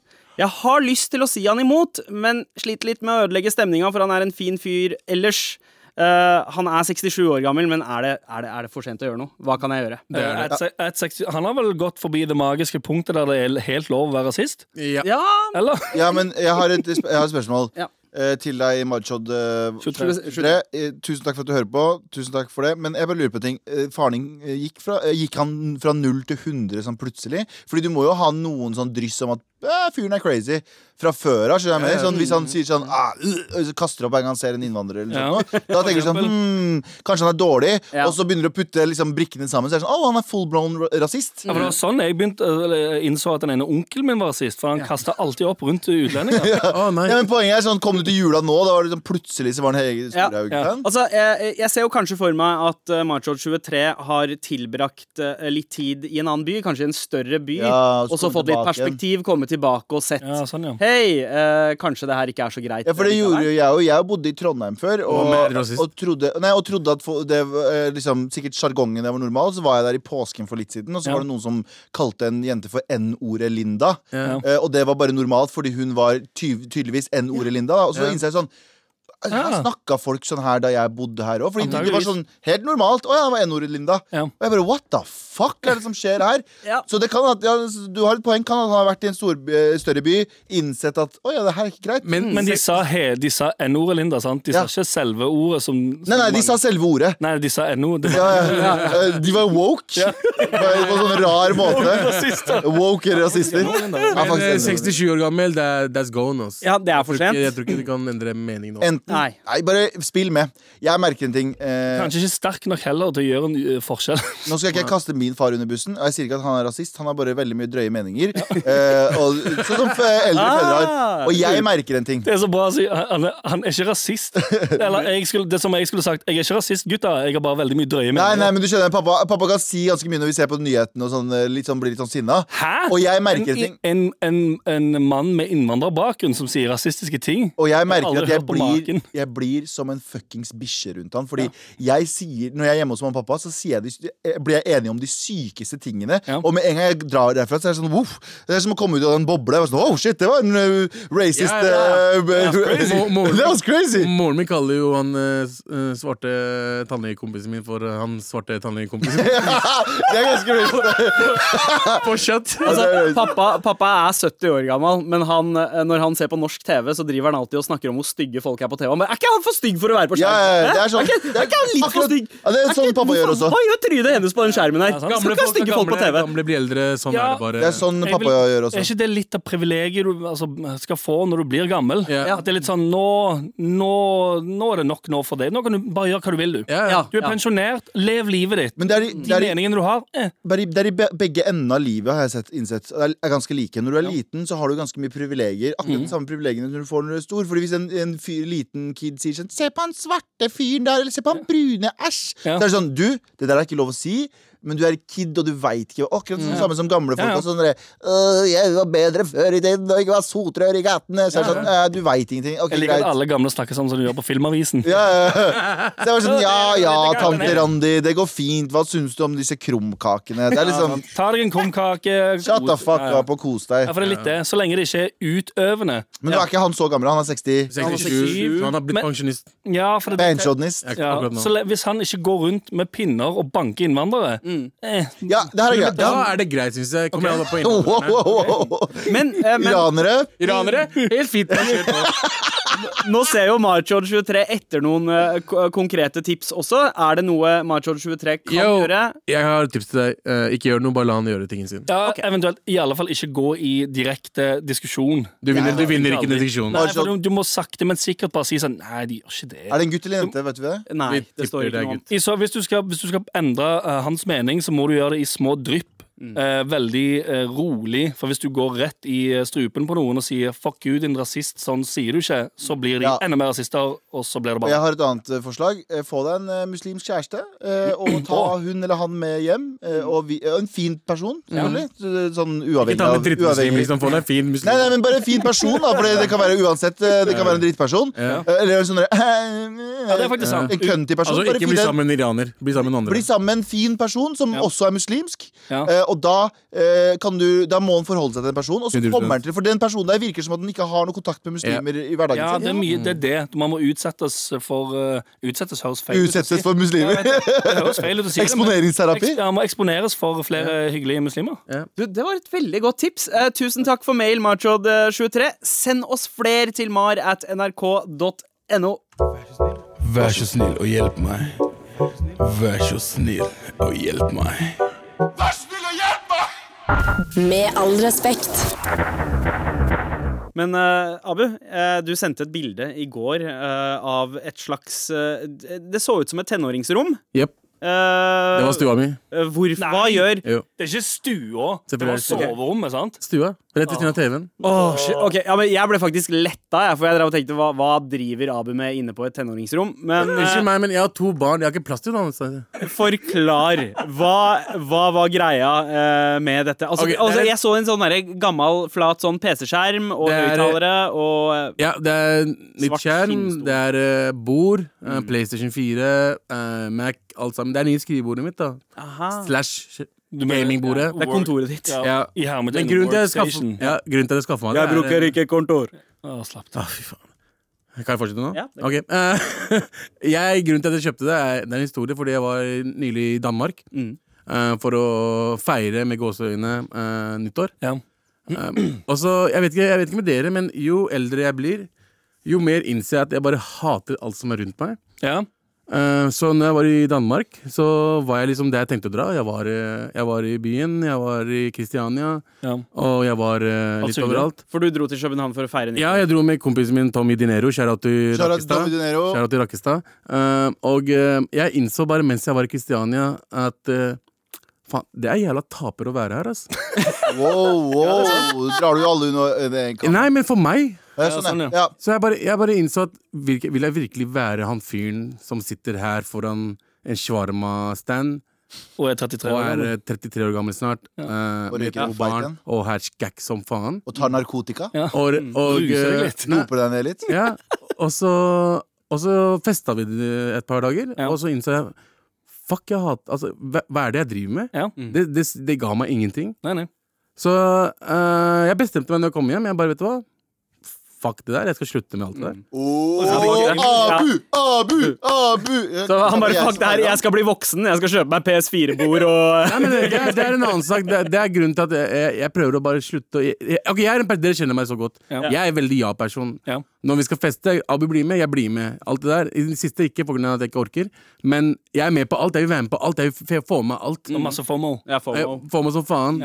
B: Jeg har lyst til å si han imot, men sliter litt med å ødelegge stemninga, for han er en fin fyr ellers. Eh, han er 67 år gammel, men er det, er, det, er det for sent å gjøre noe? Hva kan jeg gjøre?
C: Eh, et se- et seks- Han har vel gått forbi det magiske punktet der det er helt lov å være rasist?
D: Ja.
B: Ja,
C: Eller?
A: Ja, men jeg har et, jeg har et spørsmål.
B: Ja.
A: eh, Til deg, Marchod. eh,
C: 23.
A: 23. Eh, Tusen takk for at du hører på. Tusen takk for det Men jeg bare lurer på en ting. Eh, Faren din eh, gikk, fra, eh, gikk han fra null til 100 sånn plutselig? Fordi du må jo ha noen sånn dryss om at eh, fyren er crazy fra før av. skjønner du hva jeg mener? Sånn, hvis han sier sånn ah, øh, så kaster opp hver gang han ser en innvandrer, eller
C: Ja.
A: noe sånt, da tenker du sånn hmm, Kanskje han er dårlig,
B: Ja.
A: og så begynner du å putte liksom, brikkene sammen. Så er det sånn, Å, han er full blown ra- rasist.
C: Ja, for det var sånn jeg begynte, eller, jeg innså at den ene onkelen min var rasist, for han kasta alltid opp rundt utlendinger.
D: Å, nei.
A: Ja, men Poenget er sånn, Kom du til jula nå, da var det sånn, plutselig så var han Hege
B: Ja.
A: Storhaug-fan?
B: Altså, jeg, jeg ser jo kanskje for meg at uh, Marchod 23 har tilbrakt eh, litt tid i en annen by, kanskje i en større by,
A: Ja, og så
B: og så
A: komme
B: fått litt
A: tilbake igjen.
B: perspektiv, komme tilbake og sett.
C: Ja, sånn, ja.
B: Hei, eh, kanskje det her ikke er så greit. eh,
A: Ja, for det
B: likevel.»
A: gjorde jo jeg òg. Jeg bodde i Trondheim før. Og,
D: mer rasist.
A: og, trodde, nei, og trodde at for, det var, eh, liksom, sikkert sjargongen der var normal. Så var jeg der i påsken for litt siden, og så
C: Ja.
A: var det noen som kalte en jente for N-ordet Linda. Eh, og det var bare normalt, fordi hun var ty tydeligvis N-ordet Linda. da. Og så innså jeg sånn her
C: Ja.
A: snakka folk sånn her da jeg bodde her òg. Fordi det var
C: Antageligvis.
A: sånn helt normalt. Å ja, det var N-ordet Linda.
C: Ja.
A: Og jeg bare what the fuck er det som skjer her?
B: Ja.
A: Så det kan at, ja, du har et poeng. Kan at han har vært i en stor, eh, større by, innsett at å ja, det her er ikke greit.
D: Men,
C: Men de sa, he- de sa N-ordet, Linda. sant? De sa
A: Ja.
C: ikke selve ordet som
A: Nei, nei, de sa selve ordet.
C: Nei, de sa NO. Det
A: Ja,
C: var
A: ja. Eh, De var woke på en på en sånn rar måte. Woke rasister. Ja,
D: men, eh,
A: faktisk enig.
D: 67 år gammel, det er, that's gone, ass.
B: Ja, det er for
D: Jeg tror ikke- Jeg
B: sent.
D: tror ikke de kan endre mening nå.
A: Enten
B: Nei.
A: Nei, bare spill med. Jeg merker en ting. Eh,
C: kanskje ikke sterk nok heller til å gjøre en eh, forskjell.
A: nå skal ikke jeg kaste min far under bussen. Og jeg sier ikke at han er rasist, han har bare veldig mye drøye meninger. Eh, og, sånn som eh, eldre fedre har.
B: Ah.
A: Og jeg merker en ting.
C: Det er så bra å si. Han, er- han er ikke rasist. Eller jeg skulle, det som jeg skulle sagt. Jeg er ikke rasist, gutta. Jeg har bare veldig mye drøye
A: Nei, nei,
C: meninger.
A: men du skjønner, pappa, pappa kan si ganske mye når vi ser på nyhetene og sånn, eh, litt sånn, blir litt sånn sinna.
C: Hæ?
A: Og jeg merker en ting.
C: En, en, en, en mann med innvandrerbakgrunn som sier rasistiske ting.
A: Og jeg merker
C: aldri
A: at jeg
C: hørt på
A: blir,
C: maken.
A: jeg blir som en fuckings bikkje rundt han. Fordi jeg sier, når jeg er hjemme hos mamma og pappa, så sier jeg de, eh, blir jeg enig om de sykeste tingene.
C: Ja.
A: Og med en gang jeg drar derfra, så er det sånn voff. Det er som å komme ut av den bobla. Jeg var Sånn, oh, shit, det var en eh, racist
D: Ja, ja,
A: eh,
D: crazy. Mo- mo-
A: That was crazy!
C: Mm.
D: Moren min kaller jo han eh, s- eh, svarte tannlegekompisen min for eh, han svarte tannlegekompisen.
A: det er ganske
C: Mm.
A: crazy.
D: På kjøtt!
B: Altså, pappa, pappa er 70 år gammel, men han, eh, når han ser på norsk TV, så driver han alltid og snakker om hvor stygge folk er på TV. Han bare, er ikke han for stygg for å være på
A: Ja,
B: skjerm?
A: ja, ja, det er
B: Hæ?
A: sånn-
B: er, ikke, er ikke han litt
A: akkurat-
B: for stygg?
A: Ja, det er
B: Er
A: sånn
B: ikke-
A: pappa gjør
B: hvorfor-
A: også.
B: Hva gjør trynet hennes på den skjermen her?
C: Ja, sant.
B: Skal ikke ha
D: er
B: stygge folk på
D: gamle,
B: TV.
D: gamle blir eldre. Sånn
C: Ja.
D: er det bare.
A: Det er sånn
C: Jeg
A: pappa
C: vil-
A: gjør
C: Er
A: også.
C: ikke det litt av privilegiet du altså, skal få når du blir gammel?
D: Ja.
C: At det er litt sånn nå, nå, nå er det nok nå for deg. Nå kan du bare gjøre hva du vil, du.
D: Ja, ja.
B: Ja.
C: Du er pensjonert, lev livet ditt.
A: Men det er, i-
C: De
A: det er, i-
C: meningene du har, eh,
A: bare i- det er i be- begge ender av livet, har jeg sett, innsett. Det er- er ganske like. Når du er liten, så har du ganske mye privilegier. Akkurat
C: Mhm.
A: de samme privilegiene som du får når du er stor. Fordi hvis en, en fyr, liten kid sier sånn 'Se på han svarte fyren der', eller 'Se på han brune, æsj',
C: Ja.
A: så er det sånn Du, det der er ikke lov å si. Men du er kid, og du veit ikke Akkurat sånn samme som gamle folk.
C: Ja, ja.
A: Og sånn derre, «Øh, 'Jeg var bedre før i tiden, og ikke var sotrør i gatene'. Så er det sånn, «Øh, Du veit ingenting. Ok,
C: Jeg liker at
A: greit.
C: alle gamle snakker sånn som de gjør på Filmavisen.
A: Ja, ja, ja. Så jeg var sånn, ja ja,
C: Det er greit,
A: tante Randi, det går fint. Hva syns du om disse krumkakene? Det er liksom
C: Ta deg en krumkake.
A: Shut the fuck
C: Ja, ja.
A: up og kos
C: Ja,
A: deg.
C: for det er litt det. Så lenge det ikke er utøvende.
A: Men nå er ikke han så gammel, han er 60.
C: Han var
D: 67,
C: 67,
D: så han har blitt
C: men-
D: pensjonist.
C: Ja, for det,
A: Beinchodnist.
C: ja,
D: akkurat nå.
C: så le- hvis han ikke går rundt med pinner og banker innvandrere eh,
A: Ja, det her er greit.
D: Da
A: Ja.
D: er det greit, syns jeg. Kommer alle på
A: Wow,
D: innholdet.
A: wow, wow.
B: Men, eh, men
A: Iranere.
D: Iranere, helt fint. Kjør på.
B: nå ser jo Marchod23 etter noen eh, ko- konkrete tips også. Er det noe Marchod23 kan
D: Yo,
B: gjøre?
D: jeg har et tips til deg. Eh, Ikke gjør noe, bare la han gjøre tingen sin.
C: Ja, eventuelt i alle fall ikke gå i direkte diskusjon.
D: Du vinner, du vinner ikke
C: Aldri.
D: den diskusjonen.
C: Nei, for du, du må sakte, men sikkert bare si sånn Nei, de gjør ikke det.
A: Er det en gutt eller en jente? Vet vi det?
B: Nei,
D: Vi
B: det står
D: tipper det
B: ikke
D: er
B: noe om.
D: gutt.
C: I Så hvis, du skal, hvis du skal endre eh, hans mening, så må du gjøre det i små drypp. Eh, veldig eh, rolig. For hvis du går rett i eh, strupen på noen og sier 'fuck you, din rasist', sånn sier du ikke, så blir de
A: Ja.
C: enda mer rasister, og så blir
A: Og
C: det bare
A: jeg har et annet eh, forslag. Eh, Få deg en eh, muslimsk kjæreste, eh, og ta hun eller han med hjem. eh, Og vi, eh, en fin person, selvfølgelig. Så- Sånn
D: Ikke
A: uavhengig
D: ta med
A: av
D: drittmuslim,
A: uavhengig-
D: liksom. Få deg en fin muslim.
A: Nei, nei, men bare en fin person, da. For det, det kan være uansett. eh, Det kan være en drittperson. Eh, Eller en sånn derre
C: Ja, det er faktisk sant.
A: En køntig person.
D: Altså,
A: sånn, Bare
D: ikke
A: fin
D: bli
A: en-
D: sammen med en iraner. Bli sammen med
A: Bli
D: andre.
A: sammen med en fin person som også er muslimsk.
C: Ja.
A: Eh, og da, eh, kan du, da må han forholde seg til den personen. Og så
D: 100%.
A: kommer han til For den personen der virker som at den ikke har noe kontakt med muslimer i hverdagen
C: Ja, det er
A: sin.
C: mye, det er det. Man må utsettes for eh, Utsettes høres feil ut. å si.
A: Utsettes for muslimer.
C: Det høres feil ut å si det, men-
A: Eksponeringsterapi.
C: Eks- Ja, må eksponeres for flere hyggelige muslimer.
B: Du, det var et veldig godt tips. Eh, tusen takk for mail, marchod23. Send oss fler til mar at nrk.no.
F: Vær så snill og hjelp meg. Vær så snill og hjelp meg.
E: Med all respekt.
B: Men eh, Abu, eh, du sendte et bilde i går eh, av et slags eh, d- Det så ut som et tenåringsrom.
D: Jepp.
B: Eh,
D: Det var stua mi.
B: eh, Hvor, hva gjør
D: Jo.
C: Det er ikke stua. Det
D: Selvfølgelig er
C: var
D: det stua.
C: soverommet, sant?
D: Stua. Rett ved siden av TV-en.
B: Åh, shit. Ok, ja, men Jeg ble faktisk letta, jeg, for jeg drev og tenkte hva, hva driver Abu med inne på et tenåringsrom? Men eh,
D: Unnskyld meg, men jeg har to barn. Jeg har ikke plass til noe annet sted.
B: Forklar. Hva, hva var greia eh, med dette? Altså,
D: Ok, det er-
B: altså, jeg så en sånn derre gammel, flat sånn PC-skjerm og
D: Det er-
B: høyttalere og eh,
D: Ja, det er nytt
B: Svart
D: skjerm,
B: skinnstol.
D: det er eh, bord, eh, PlayStation 4, eh, Mac, alt sammen. Det er nye skrivebordet mitt, da.
B: eh, Aha.
D: Ah. Slash
C: Du mener-
D: gamingbordet.
B: Det er kontoret ditt.
C: Ja.
D: Ja.
C: I hermetegn,
D: Men grunnen til at jeg skaffa,
C: workstation.
D: ja, grunnen til at jeg skaffa meg det, er-
B: ikke kontor.
C: Å, slapp av.
D: Å, fy faen. Kan jeg fortsette nå?
B: Ja, det
D: Ok. Eh, jeg, grunnen til at jeg kjøpte det, er, det er en historie fordi jeg var nylig i Danmark. eh, for å feire med gåseøyne eh, nyttår.
C: Ja.
D: Um, og så, jeg vet, ikke, jeg vet ikke med dere, men jo eldre jeg blir, jo mer innser jeg at jeg bare hater alt som er rundt meg.
C: Ja.
D: Uh, så når jeg var i Danmark, så var jeg liksom der jeg tenkte å dra. Jeg var, eh, jeg var i byen, jeg var i Kristiania,
C: ja.
D: og jeg var eh, litt
C: Absolutt.
D: overalt.
B: For du dro til København for å feire nyttår.
D: Ja, jeg dro med kompisen min Tommy Dinero. Kjære til
A: Shout out til Tommy
D: Rakkestad.
A: Dinero.
D: Shout out til Rakkestad. Eh, og eh, jeg innså bare mens jeg var i Kristiania, at eh, faen, det er jævla taper å være her, ass.
A: Wow, wow. Drar du jo alle under en kam?
D: Nei, men for meg
A: Ja,
C: Ja,
A: sånn,
C: sånn,
A: ja.
C: ja.
A: Ja.
D: Så jeg bare, jeg bare innså at virke, Vil jeg virkelig være han fyren som sitter her foran en shawarma-stand
C: Og er 33
D: og
C: år
D: er
C: gammel.
D: eh, 33 år gammel snart, eh,
A: Og
D: med
A: røyker
D: to
A: god
D: barn
A: bacon.
D: og herskak som faen?
A: Og tar narkotika?
C: Ja.
D: Og, og,
C: Mm. Ruser deg
D: eh,
C: litt.
D: nei,
A: Doper deg ned litt?
D: ja, og så, og så festa vi det et par dager,
C: Ja.
D: og så innså jeg Fuck, jeg hat, altså, hva, hva er det jeg driver med?
C: Ja.
D: Det, det, det ga meg ingenting.
C: Nei, nei.
D: Så eh, jeg bestemte meg når jeg kom hjem. Jeg bare, vet du hva? fuck det der, jeg skal slutte med alt det der.
A: Åh,
B: Ja.
A: Abu, Abu, Abu!
B: Så han bare fuck det her, jeg skal bli voksen, jeg skal kjøpe meg PS4-bord og
D: Nei, men det, er- det er en annen sak. Det, er- det er grunnen til at jeg, jeg, jeg prøver å bare slutte å jeg, jeg- Ok, jeg er en per- Dere kjenner meg så godt.
C: Ja.
D: Jeg er en veldig ja-person.
C: Ja.
D: Når vi skal feste, Abu blir med, jeg blir med. Alt det der. I det siste ikke pga. at jeg ikke orker, men jeg er med på alt. Jeg vil være med på alt. Jeg vil f- få med alt.
C: Og masse FOMO.
B: Jeg får
D: Jeg
B: meg-
D: får meg som faen.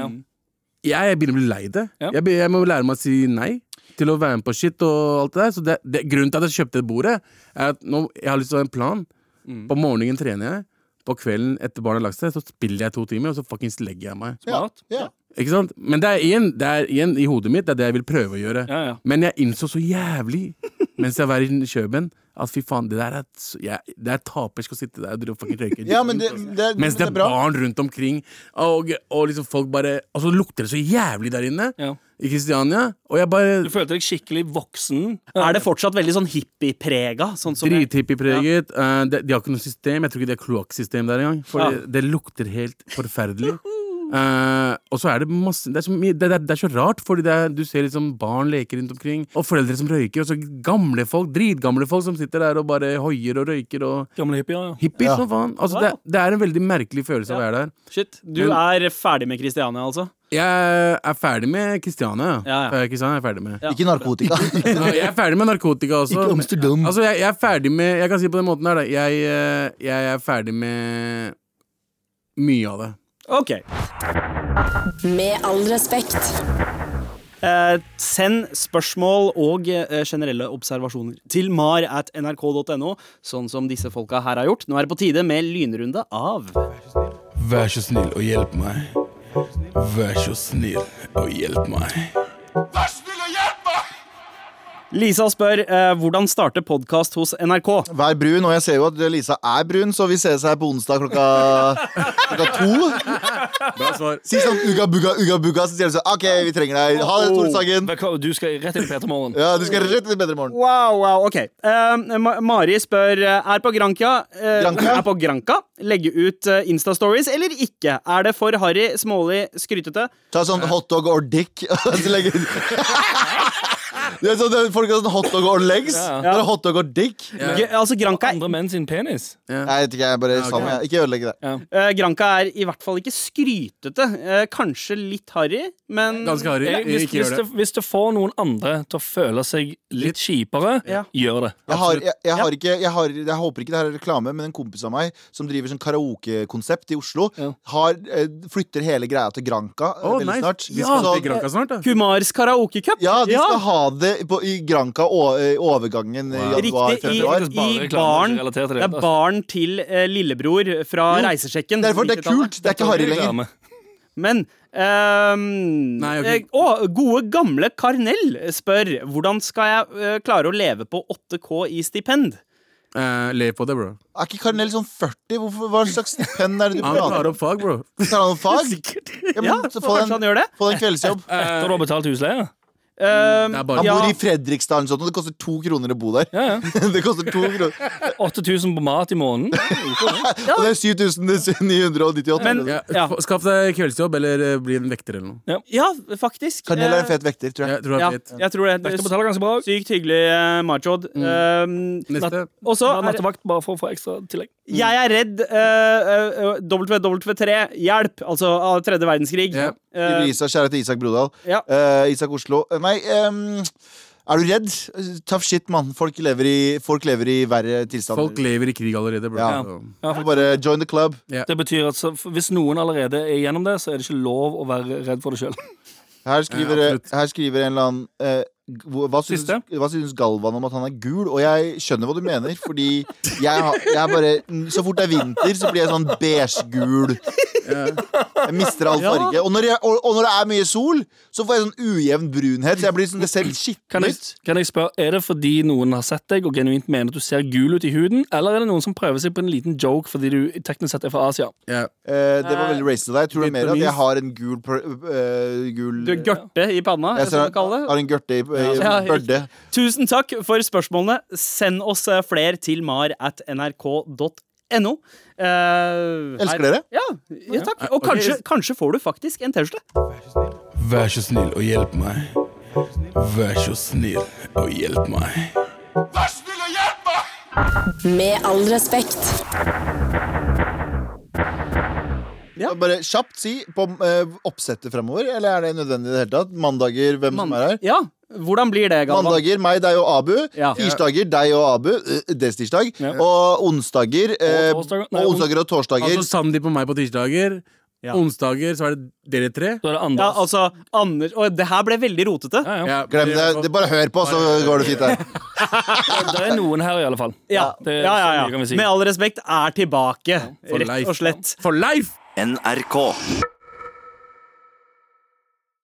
D: Jeg, jeg begynner å bli lei det.
C: Ja.
D: Jeg, be- jeg må lære meg å si nei til å være med på shit og alt det der. Så det, det, grunnen til at jeg kjøpte det bordet, er at nå, jeg har lyst til å ha en plan.
C: Mm.
D: På morgenen trener jeg. På kvelden etter barna har lagt seg, så spiller jeg to timer, og så fuckings legger jeg meg.
C: Smart.
A: Ja.
D: Ikke sant? Men det er, igjen, det er igjen i hodet mitt, det er det jeg vil prøve å gjøre.
C: Ja, ja.
D: Men jeg innså så jævlig mens jeg var i Kjøben, at fy faen, det der er, et s- jeg, det er tapersk å sitte der og drive og fucking røyke.
A: Ja, men det, det,
D: mens det er
A: bra.
D: barn rundt omkring, og, og liksom folk bare Og så lukter det så jævlig der inne
C: Ja.
D: i Kristiania, og jeg bare
C: Du følte deg skikkelig voksen.
B: Er det fortsatt veldig sånn hippieprega? Sånn som jeg-
D: Drithippiepreget. eh, de, de har ikke noe system. Jeg tror ikke det er kloakksystem der engang. For det, det lukter helt forferdelig. Eh, og så er det masse Det er så, mye, det, det, det er så rart, Fordi det er, du ser liksom barn leker rundt omkring, og foreldre som røyker, og så gamle folk, dritgamle folk som sitter der og bare hoier og røyker og
C: Gamle hippier, ja.
D: Hippies som faen. Altså, det, det er en veldig merkelig følelse av å være der.
B: Shit, du er ferdig med Christiania, altså?
D: Jeg er ferdig med Kristiania.
B: Ja, ja.
D: Eh, Kristiania er jeg ferdig med.
A: Ikke narkotika.
D: Nå, Jeg er ferdig med narkotika også.
A: Ikke Amsterdam.
D: Altså, jeg, jeg er ferdig med Jeg kan si det på den måten her, da. Jeg, eh, jeg er ferdig med mye av det.
B: Ok.
E: Med all respekt.
B: Eh, send spørsmål og eh, generelle observasjoner til mar at nrk.no, sånn som disse folka her har gjort. Nå er det på tide med lynrunde av
F: Vær så snill og hjelp meg. Vær så snill og hjelp meg.
B: Lisa spør eh, hvordan starte podkast hos NRK.
A: Vær brun, og jeg ser jo at Lisa er brun, så vi ses her på onsdag klokka, klokka to.
D: Bra svar.
A: Si sånn uga bugga, uga bugga, så sier du sånn OK, vi trenger deg. Ha det, Tore Sagen.
C: Velko- Du skal rett inn i Peter Morgen.
A: Ja, du skal rett til bedre morgen.
B: Wow, wow, ok. Eh, Ma- Mari spør eh, er på Granca, eh,
A: Granca?
B: Er på Granca legge ut eh, Insta-stories eller ikke? Er det for harry, smålig, skrytete?
A: Ta sånn hotdog or dick. og så legger du- Det er sånn, det er- folk har sånn hotdog or legs.
C: Ja, ja.
A: Bare hotdog or dick.
B: G altså Granca,
C: Andre menn sin penis.
A: Nei, jeg vet ikke, jeg er bare sammen. Jeg. Ikke ødelegg det.
B: eh, Granca er i hvert fall ikke skrytete. Eh, kanskje litt harry, men
D: Ganske harry.
C: Jeg, hvis,
D: Ikke
C: hvis,
D: gjør
C: det,
D: det.
C: hvis det får noen andre til å føle seg litt kjipere,
B: Ja.
C: gjør det.
A: Jeg, har, jeg, jeg, har ikke, jeg, har, jeg håper ikke det her er reklame, men en kompis av meg som driver sånn karaokekonsept i Oslo,
C: Ja.
A: har, eh, flytter hele greia til Granca eh,
D: Å,
A: veldig
D: nice.
A: snart.
D: Vi
A: De
D: skal
A: skal, sånn-
D: til Granca snart, da.
B: Kumars karaokecup.
A: ja, de skal ha det på, i Granca å- eh, overgangen i
B: Riktig, i,
A: januar-februar.
C: Bare
B: i
C: reklame,
B: baren.
C: ikke relatert til
B: Det
C: det.
B: er baren til eh, lillebror fra Reisesjekken.
A: Derfor altså. det er kult. Det er ikke harry lenger.
C: Reklame.
B: Men ehm,
D: Nei, ok.
B: eh, Å, gode gamle Karnell spør hvordan skal jeg eh, klare å leve på 8K i stipend?
D: Eh, lev på det, bro.
A: Er ikke Karnell sånn 40? Hvorfor, hva slags stipend er det du
D: Han
A: prater
D: tar
A: om?
D: opp fag, bro.
A: Tar han om fag? Ja, men
B: Ja,
A: så
B: kanskje
A: få den-
B: han gjør det?
A: Få deg en kveldsjobb.
C: Etter du har betalt husleie?
B: Ehm,
D: Det er bare
A: Han
B: Ja.
A: bor i Fredrikstad, eller sånt, og det koster to kroner å bo der.
C: Ja, ja.
A: Det koster to kroner
C: 8000 på mat i måneden.
A: Og det er 7998.
B: Men-
D: ja,
B: Ja.
D: få- Skaff deg kveldsjobb, eller eh, bli en vekter eller noe.
B: ja, faktisk.
A: Karnell
B: Eh,
A: er en fet vekter, tror jeg.
D: Jeg tror det
B: Ja,
D: er fett.
B: jeg tror det.
C: Vekter betaler ganske bra.
B: Sykt hyggelig, eh, Majod. Ehm,
D: Mm. Neste.
B: og så
C: Bare
B: er-
C: nattevakt bare for å få ekstra tillegg.
B: Jeg er redd eh, eh, WW3, hjelp! Altså av tredje verdenskrig.
D: Ja.
B: Eh,
A: Isak, kjære til Isak Brodal.
B: ja.
A: Eh, Isak Oslo. Eh, Nei, ehm, er du redd? Tough shit, mann. Folk lever i, folk lever i verre tilstander.
D: Folk lever i krig allerede, bro.
A: Ja.
D: Så-
A: Får Bare join the club.
C: Det betyr at så, Hvis noen allerede er gjennom det, så er det ikke lov å være redd for det sjøl.
A: Her skriver,
D: Ja, absolutt.
A: her skriver en eller annen eh, hva- hva synes,
C: Siste.
A: hva synes Galvan om at han er gul? Og jeg skjønner hva du mener, fordi jeg, har- jeg er bare Så fort det er vinter, så blir jeg sånn beige-gul. Jeg mister all farge. Og når, jeg, og, og når det er mye sol, så får jeg sånn ujevn brunhet. Så jeg blir sånn, det ser litt
C: Kan,
A: skitten
C: jeg-
A: ut.
C: kan jeg spørre, Er det fordi noen har sett deg og genuint mener at du ser gul ut i huden, eller er det noen som prøver seg på en liten joke fordi du teknisk sett er fra Asia?
D: Ja.
A: Eh, det var veldig racist av deg. Jeg tror det er mer at jeg
D: Vietnamese.
A: har en gul, per- eh, gul
B: Du er gørte i panna,
A: Jeg
B: jeg skal
A: ser,
B: man kalle det.
A: har en gørte i eh, i-
B: Ja,
A: børde.
B: Tusen takk for spørsmålene. Send oss eh, fler til mar at nrk.no. Eh,
A: Elsker
B: her-
A: dere.
B: Ja, ja takk. Og kanskje, kanskje får du faktisk en T-skjorte.
F: Vær så snill og hjelp meg. Vær så snill og hjelp meg.
E: Med all respekt.
B: Ja.
A: Bare kjapt si på eh, oppsettet fremover, eller er det nødvendig i det hele tatt? Mandager, hvem som er her?
B: Ja, hvordan blir det, Galvan?
A: Mandager meg, deg og Abu.
B: Ja.
A: Tirsdager deg og Abu. eh, Det er tirsdag.
C: Ja.
A: Og onsdager eh,
C: Og torsdager. Nei,
A: og onsdager og torsdager.
D: Altså Sandeep og meg på tirsdager.
B: Ja.
D: Onsdager så er det dere tre.
C: Da er det andre.
B: Ja, altså, Anders Og det her ble veldig rotete.
C: ja, ja.
D: Ja,
A: Glem det. det. Bare hør på, så går det fint. Der.
C: Det er noen her, i alle fall.
B: Ja, ja,
C: Det er
B: ja,
C: så mye
B: ja.
C: kan vi si.
B: Med all respekt er tilbake,
D: for
B: rett
D: life.
B: og slett.
D: For life!
G: NRK.